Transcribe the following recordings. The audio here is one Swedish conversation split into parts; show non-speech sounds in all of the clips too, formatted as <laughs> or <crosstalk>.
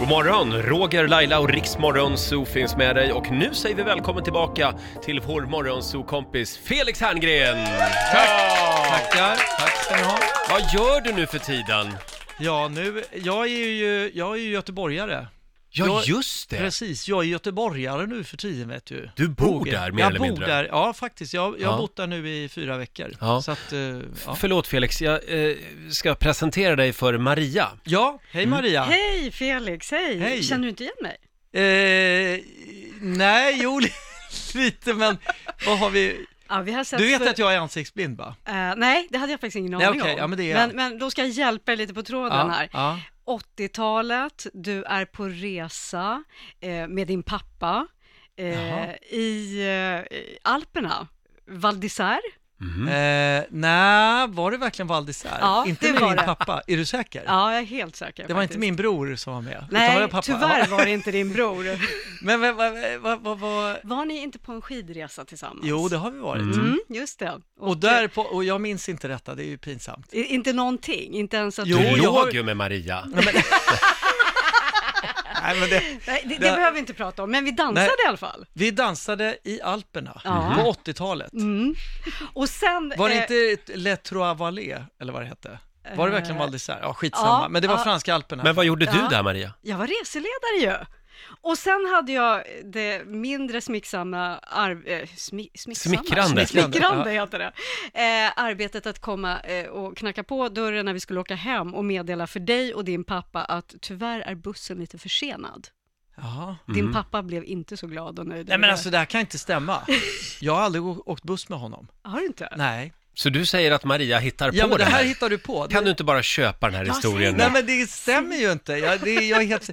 God morgon! Roger, Laila och Riksmorgonzoo finns med dig och nu säger vi välkommen tillbaka till vår morgonzoo-kompis Felix Herngren! Tackar, tack ska ni ha. Vad gör du nu för tiden? Ja, nu, jag är ju, jag är ju göteborgare. Ja, Jag- just det! Precis, jag är göteborgare nu för tiden vet du. Du bor Roger. där, mer jag eller bor mindre. Där. Ja, faktiskt. Jag, jag har Ja. bott där nu i fyra veckor. Ja. Så att, eh, ja. Förlåt Felix, jag eh, ska presentera dig för Maria. ja, hej Mm. Maria. Hej Felix, hej. Ah. Hej. Känner du inte igen mig? Eh, nej, jo, <laughs> lite, men vad har Ah, vi? Ja, vi har sett Du vet att jag är ansiktsblind va? nej, det hade jag faktiskt ingen Nej, aning okej, om. ja, men det är jag. men, men då ska jag hjälpa er lite på tråden här. ja. 80-talet, du är på resa eh, med din pappa eh, Jaha. i eh, i Alperna. Val d'Isère? Mm. Eh, nej, var det verkligen Val d'Isère? Ja, inte det med var min det. pappa, är du säker? Ja, jag är helt säker. det var faktiskt. inte min bror som var med, utan var Nej, det pappa? tyvärr Ja. var det inte <laughs> din bror. Men vad, vad, vad, vad, vad... Var ni inte på en skidresa tillsammans? Jo, det har vi varit. Mm, just det. Och, Och, där på, och jag minns inte detta, det är ju pinsamt. i- Inte någonting, inte ens att Jo, Du jag låg har- ju med Maria. Nej, men det, Nej, det, det Där- behöver vi inte prata om, men vi dansade Nej. i alla fall. vi dansade i Alperna Ja. på 80-talet. Mm. Och sen... Var det eh, inte Les Trois Vallées, eller vad det hette? Var det verkligen Val d'Isère? Eh. Ja, skitsamma. ja, men det var ja. franska Alperna. Men vad gjorde Ja. du där Maria? Jag var reseledare ju. Och sen hade jag det mindre smicksamma, arv, eh, smi, smicksamma? Smickrande. Smickrande heter det. Eh, arbetet att komma eh, och knacka på dörren när vi skulle åka hem och meddela för dig och din pappa att tyvärr är bussen lite försenad. Jaha. Din pappa blev inte så glad och nöjd. Nej, över men det. alltså det här kan inte stämma. <laughs> Jag har aldrig å- åkt buss med honom. Har du inte? Nej. Så du säger att Maria hittar Ja, på men det det här här? hittar du på. Kan du inte bara köpa den här Jag historien säger Nej, nu? men det stämmer ju inte. Jag, det, jag, är helt...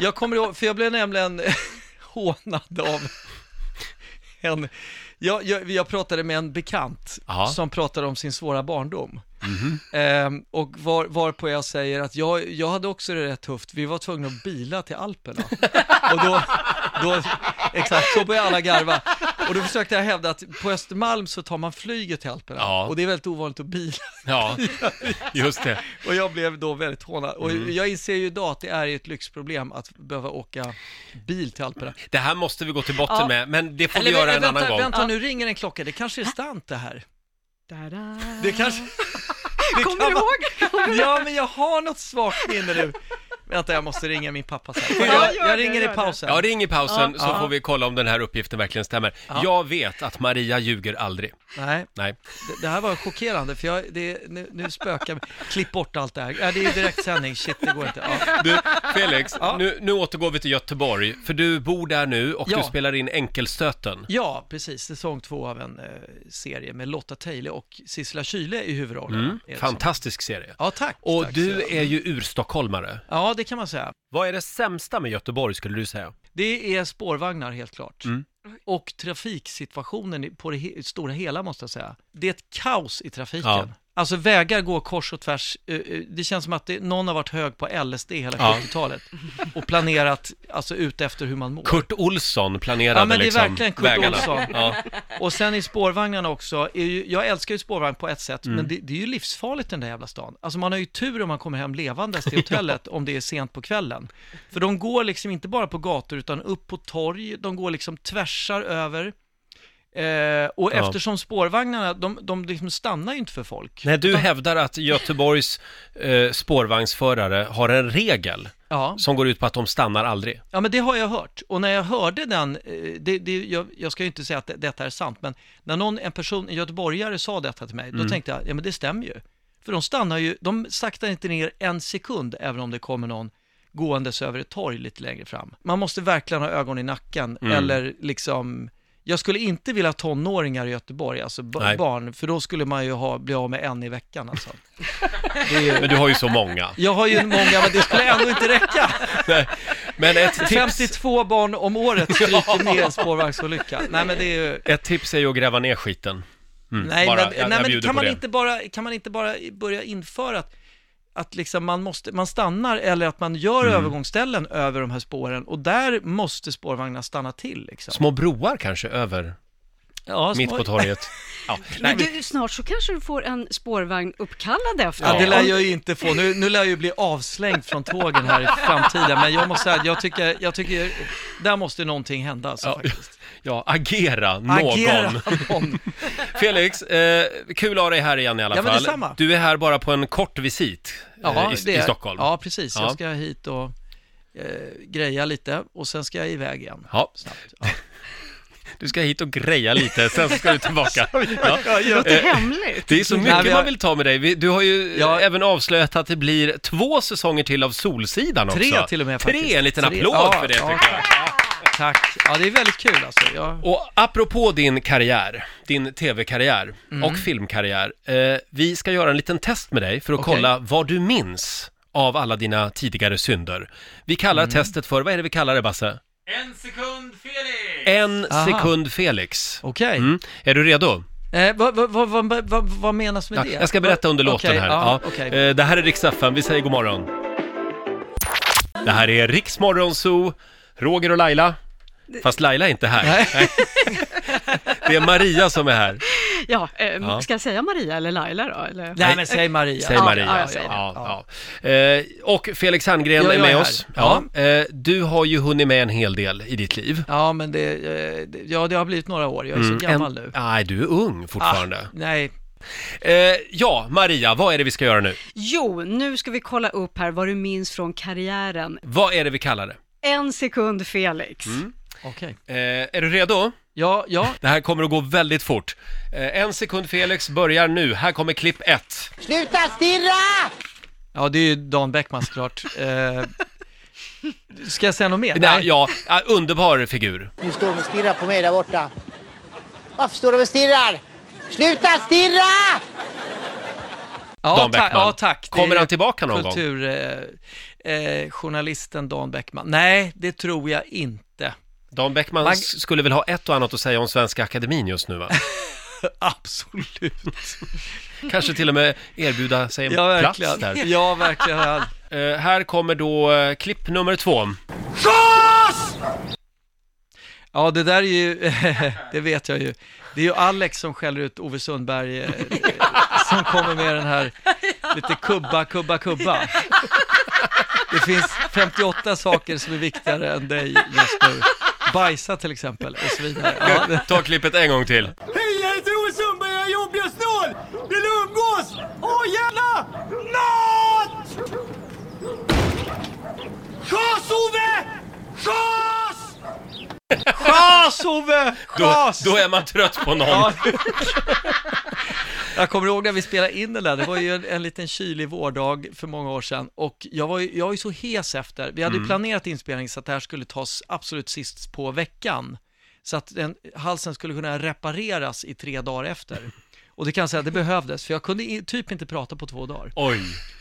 jag kommer ihåg, för jag blev nämligen <laughs> hånad av en... Jag, jag, jag pratade med en bekant Jaha. som pratade om sin svåra barndom. Ehm, och var, varpå jag säger att jag, jag hade också det rätt tufft. Vi var tvungna att bila till Alperna. och då, då, exakt, så började alla garva. Och då försökte jag hävda att på Östermalm så tar man flyget till Alperna. Ja. Och det är väldigt ovanligt att bila. Ja, just det. Och jag blev då väldigt hånad. Och jag inser ju idag att det är ett lyxproblem att behöva åka bil till Alperna. Det här måste vi gå till botten Ja. med, men det får vi göra en vänta, annan gång. vänta, nu ringer en klocka. Det kanske är sant det här. Da-da. Det kanske... Det Kommer kan du vara- ihåg? Ja, men jag har något svagt minne nu. Vänta, jag måste ringa min pappa sen. Ja, Jag, gör jag det, ringer gör i det. pausen. Ja, ring i pausen så Ja. får vi kolla om den här uppgiften verkligen stämmer. Ja. Jag vet att Maria ljuger aldrig. Nej, Nej. det, det här var chockerande, för jag, det, nu, nu spökar Klipp bort allt det här. Ja, det är ju direktsändning. Shit, det går inte. Ja. Du, Felix, <laughs> Ja. nu, nu återgår vi till Göteborg, för du bor där nu och du Ja. spelar in Enkelstöten. Ja, precis. Säsong två av en eh, serie med Lotta Teile och Sissela Kyle i huvudrollen. Mm. Är det så? Fantastisk serie. Ja, tack. Och tack, du så. är ju urstockholmare. Ja, det kan man säga. Vad är det sämsta med Göteborg skulle du säga? Det är spårvagnar helt klart. Mm. Och trafiksituationen i- på det he- stora hela måste jag säga. Det är ett kaos i trafiken. Ja. Alltså vägar går kors och tvärs. Eh, eh, Det känns som att det, någon har varit hög på LSD hela Ja. 70-talet och planerat alltså, ut efter hur man mår. Kurt Olsson planerade Ja, men det är liksom verkligen Kurt vägarna. Olsson. Ja. <laughs> Och sen i spårvagnarna också, är ju, jag älskar ju spårvagn på ett sätt, Mm. men det, det är ju livsfarligt den där jävla stan. Alltså man har ju tur om man kommer <laughs> hem levandes till hotellet, om det är sent på kvällen. För de går liksom inte bara på gator, utan upp på torg, de går liksom tvärsar över. Eh, och Ja. eftersom spårvagnarna, de, de liksom stannar ju inte för folk. Nej, du hävdar att Göteborgs eh, spårvagnsförare har en regel Ja. som går ut på att de stannar aldrig. Ja, men det har jag hört. Och när jag hörde den, eh, det, det, jag, jag ska ju inte säga att det, detta är sant, men när någon, en person, en göteborgare sa detta till mig, då tänkte jag, ja men det stämmer ju. För de stannar ju, de saktar inte ner en sekund, även om det kommer någon gåendes över ett torg lite längre fram. Man måste verkligen ha ögon i nacken, eller liksom, jag skulle inte vilja ha tonåringar i Göteborg, alltså ba- Nej. barn, för då skulle man ju ha, bli av med en i veckan alltså. Men du har ju så <laughs> många. Jag har ju många, men det skulle ändå inte räcka. Nej, Men ett tips, 52 barn <laughs> om året stryker med en spårvagnsolycka. Nej men det är ju... ett tips är ju att gräva ner skiten. Mm, Nej, bara, men, jag, nej, jag men bjuder kan, på man det. inte bara, kan man inte bara börja införa att, att liksom man, måste, man stannar eller att man gör Mm. övergångsställen över de här spåren och där måste spårvagnarna stanna till. Liksom. Små broar kanske över Ja, mitt små- på torget. <laughs> Ja, nej, Men du, snart så kanske du får en spårvagn uppkallad efter Ja, det dig. lär Om- jag ju inte få. Nu, nu lär jag ju bli avslängd från tågen här i framtiden, men jag måste säga, jag tycker, jag tycker, där måste någonting hända alltså, ja, faktiskt. ja, agera någon. Agera någon. Felix, eh, kul att ha dig här igen i alla Ja, men fall. detsamma. Du är här bara på en kort visit eh, Ja, i, det i är- Stockholm. Ja, precis. Ja. Jag ska hit och eh, greja lite och sen ska jag iväg igen. Ja. Snabbt. Ja. Du ska hit och greja lite, sen så ska du <laughs> tillbaka. <laughs> Ja. Eh, Det är hemligt. Det är så Nej, mycket vi har- man vill ta med dig. Vi- Du har ju eh, Ja. även avslöjat att det blir två säsonger till av Solsidan också. Tre till och med Tre, faktiskt. en liten Tre. applåd Ja, för det ja. tycker jag. Tack. Ja, det är väldigt kul alltså. Jag, Och apropå din karriär, din tv-karriär Mm. och filmkarriär. Eh, vi ska göra en liten test med dig för att Okej. kolla vad du minns av alla dina tidigare synder. Vi kallar Mm. testet för, vad är det vi kallar det Basse? En sekund Felix! En Aha. sekund Felix. Okej. Mm. Är du redo? Eh, vad, vad, vad, vad, vad, vad menas med Ja, det? jag ska berätta under Okej, låten här. Ja, Ja. okej. Eh, Det här är Rix FM. vi säger god morgon. Det här är Rix Morgon Zoo, Roger och Laila. Fast Laila är inte här. Nej. <laughs> Det är Maria som är här. Ja, eh, Ja. ska jag säga Maria eller Laila då? Eller? Nej, men säg Maria. Säg Ja, Maria. ja, jag säger det. ja, ja. Eh, Och Felix Herngren Jag- är jag med är här. oss. Ja. Eh, Du har ju hunnit med en hel del i ditt liv. Ja, men det, eh, det- ja, det har blivit några år. Jag är Mm. så gammal nu. Nej, du är ung fortfarande. Ah, nej, Eh, Ja, Maria, vad är det vi ska göra nu? Jo, nu ska vi kolla upp här vad du minns från karriären. Vad är det vi kallar det? En sekund Felix. okej. Eh, Är du redo? Ja, ja. Det här kommer att gå väldigt fort. Eh, en sekund Felix börjar nu. Här kommer klipp ett. Sluta stirra! ja, det är ju Dan Bäckman såklart. <laughs> Eh, ska jag säga något mer? Nej, ja, ja, underbar figur. Nu står de och stirrar på mig där borta. Varför står de och stirrar? Sluta stirra! ja, Dan ta- Bäckman. ja, tack. Det Kommer är han tillbaka någon gång? kultur, Eh, eh, journalisten Dan Bäckman. Nej, det tror jag inte. Dan Bäckman Man- s- skulle väl ha ett och annat att säga om Svenska Akademin just <laughs> nu va? Absolut. Kanske till och med erbjuda sig en Ja, plats verkligen. där. <laughs> Ja, verkligen. Eh, här kommer då eh, klipp nummer två. Ja, det där är ju, <laughs> det vet jag ju. Det är ju Alex som skäller ut Ove Sundberg, eh, <laughs> som kommer med den här lite kubba, kubba, kubba. Det finns 58 saker som är viktigare än dig just nu. Bajsa till exempel och så vidare. Ja, det- Ta klippet en gång till. Hej, jag heter Ove Sundberg, jag är jobbig och snål! Vill du umgås? Åh, gärna! Nåt! Schas, Ove! Schas! Schas Ove! Då, Schas! då är man trött på någon. Ja. Jag kommer ihåg när vi spelade in den där, det var ju en, en liten kylig vårdag för många år sedan och jag var ju, jag var ju så hes efter. Vi hade ju planerat inspelning så att det här skulle tas absolut sist på veckan. Så att den, halsen skulle kunna repareras i tre dagar efter. Och det kan jag säga, det behövdes, för jag kunde i, typ inte prata på två dagar. Oj.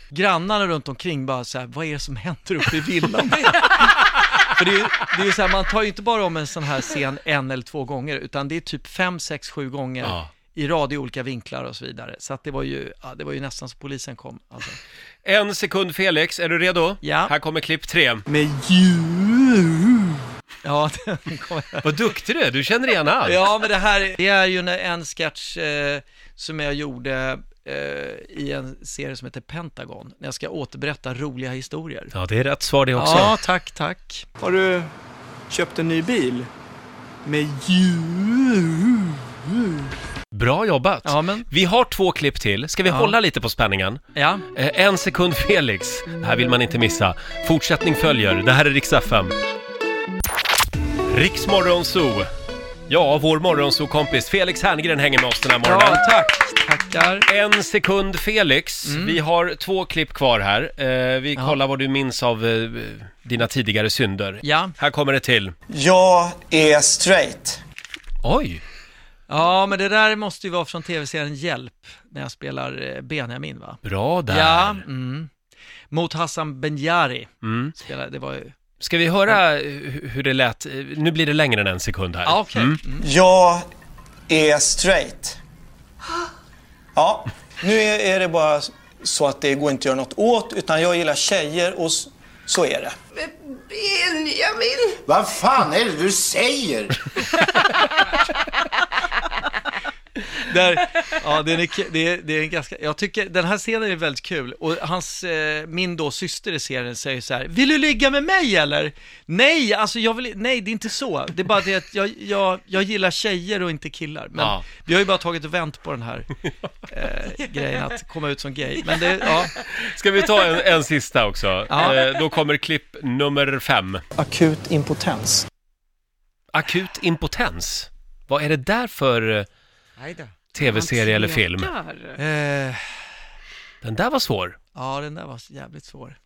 Grannarna runt omkring bara så här, vad är det som händer uppe i villan? <laughs> För det är, ju- det är ju så här, man tar ju inte bara om en sån här scen en eller två gånger, utan det är typ fem, sex, sju gånger Ja. i rad i olika vinklar och så vidare. Så att det var ju, ja, det var ju nästan så polisen kom. Alltså. En sekund Felix, är du redo? Ja. Här kommer klipp tre. Ja, <laughs> den kom. Vad duktig du är, du känner igen allt. ja, men det här det är ju en- en sketch eh, som jag gjorde eh, i en serie som heter Pentagon, när jag ska återberätta roliga historier. Ja, det är rätt svar det också. Ja, tack, tack. Har du köpt en ny bil? Med ljud. Bra jobbat! Ja, men, Vi har två klipp till. Ska vi hålla lite på spänningen? ja. Eh, en sekund <laughs> Felix. Det här vill man inte missa. Fortsättning följer. Det här är Rix FM. Rix Morgonzoo. Ja, vår morgonzoo-kompis Felix Herngren hänger med oss den här Ja, morgonen. tack. Mm. Tackar. En sekund Felix. Vi har två klipp kvar här. Eh, vi kollar vad du minns av eh, dina tidigare synder. Ja. Här kommer det till. Jag är straight. Oj! Ja, men det där måste ju vara från tv-serien Hjälp, när jag spelar eh, Benjamin, va? Bra där. Ja, mm. Mot Hassan Benjari. Mm. Spelade, det var ju... Ska vi höra eh, hu- hur det lät? Eh, Nu blir det längre än en sekund här. Ja, okej. Mm. Jag är straight. Ja, nu är är det bara så att det går inte att göra något åt, utan jag gillar tjejer och s- så är det. Benjamin! Vad fan är det du säger? Där, ja, det är, en, det, är, det är en ganska, jag tycker den här scenen är väldigt kul och hans, eh, min då syster i serien säger så här, vill du ligga med mig eller? Nej, alltså jag vill, nej det är inte så, det är bara det att jag, jag, jag gillar tjejer och inte killar. Men Ja. vi har ju bara tagit och vänt på den här eh, grejen att komma ut som gay. Men det, ja, Ska vi ta en, en sista också? Ja. Eh, då kommer klipp nummer fem. Akut impotens. Akut impotens. Vad är det där för eh, Aj då. tv-serie eller film? Tvekar. eh, Den där var svår. ja den där var så jävligt svår.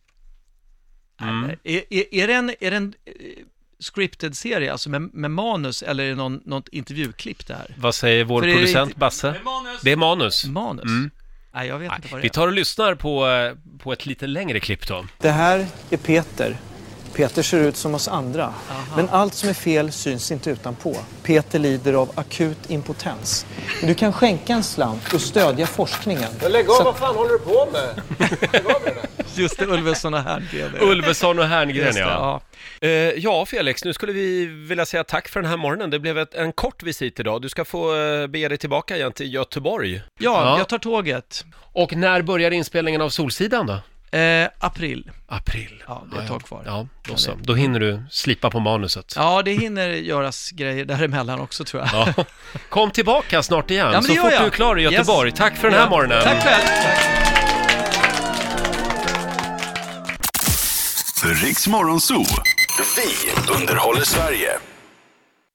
Nej, Är, är, är det en, är det en eh, scripted serie, alltså med, med manus, eller är det någon, något intervjuklipp det här? Vad säger vår För det är producent inte- Basse? Manus. Det är manus. Manus? Mm. Nej, jag vet Nej, inte vad det vi är. tar och lyssnar på, eh, på ett lite längre klipp då. Det här är Peter. Peter ser ut som oss andra. Men allt som är fel syns inte utanpå. Peter lider av akut impotens. Men Du kan skänka en slant och stödja forskningen. Lägg av, vad fan håller du på med? <laughs> Just det, Ulveson och Herngren. Ulveson och Herngren Just det, ja. Eh, ja, Felix, nu skulle vi vilja säga tack för den här morgonen. Det blev ett, en kort visit idag. Du ska få eh, bege dig tillbaka igen till Göteborg. Ja, Ja. jag tar tåget. Och när börjar inspelningen av Solsidan då? Eh, april. April. Ja, det är ett tag kvar. Ja, då så. Då hinner du slipa på manuset. Ja, det hinner göras grejer däremellan också tror jag. Ja. Kom tillbaka snart igen, men så det gör fort jag. du är klar i Göteborg. Yes. Tack för den här Ja. morgonen. Tack själv. Riks Morgonzoo. Vi underhåller Sverige.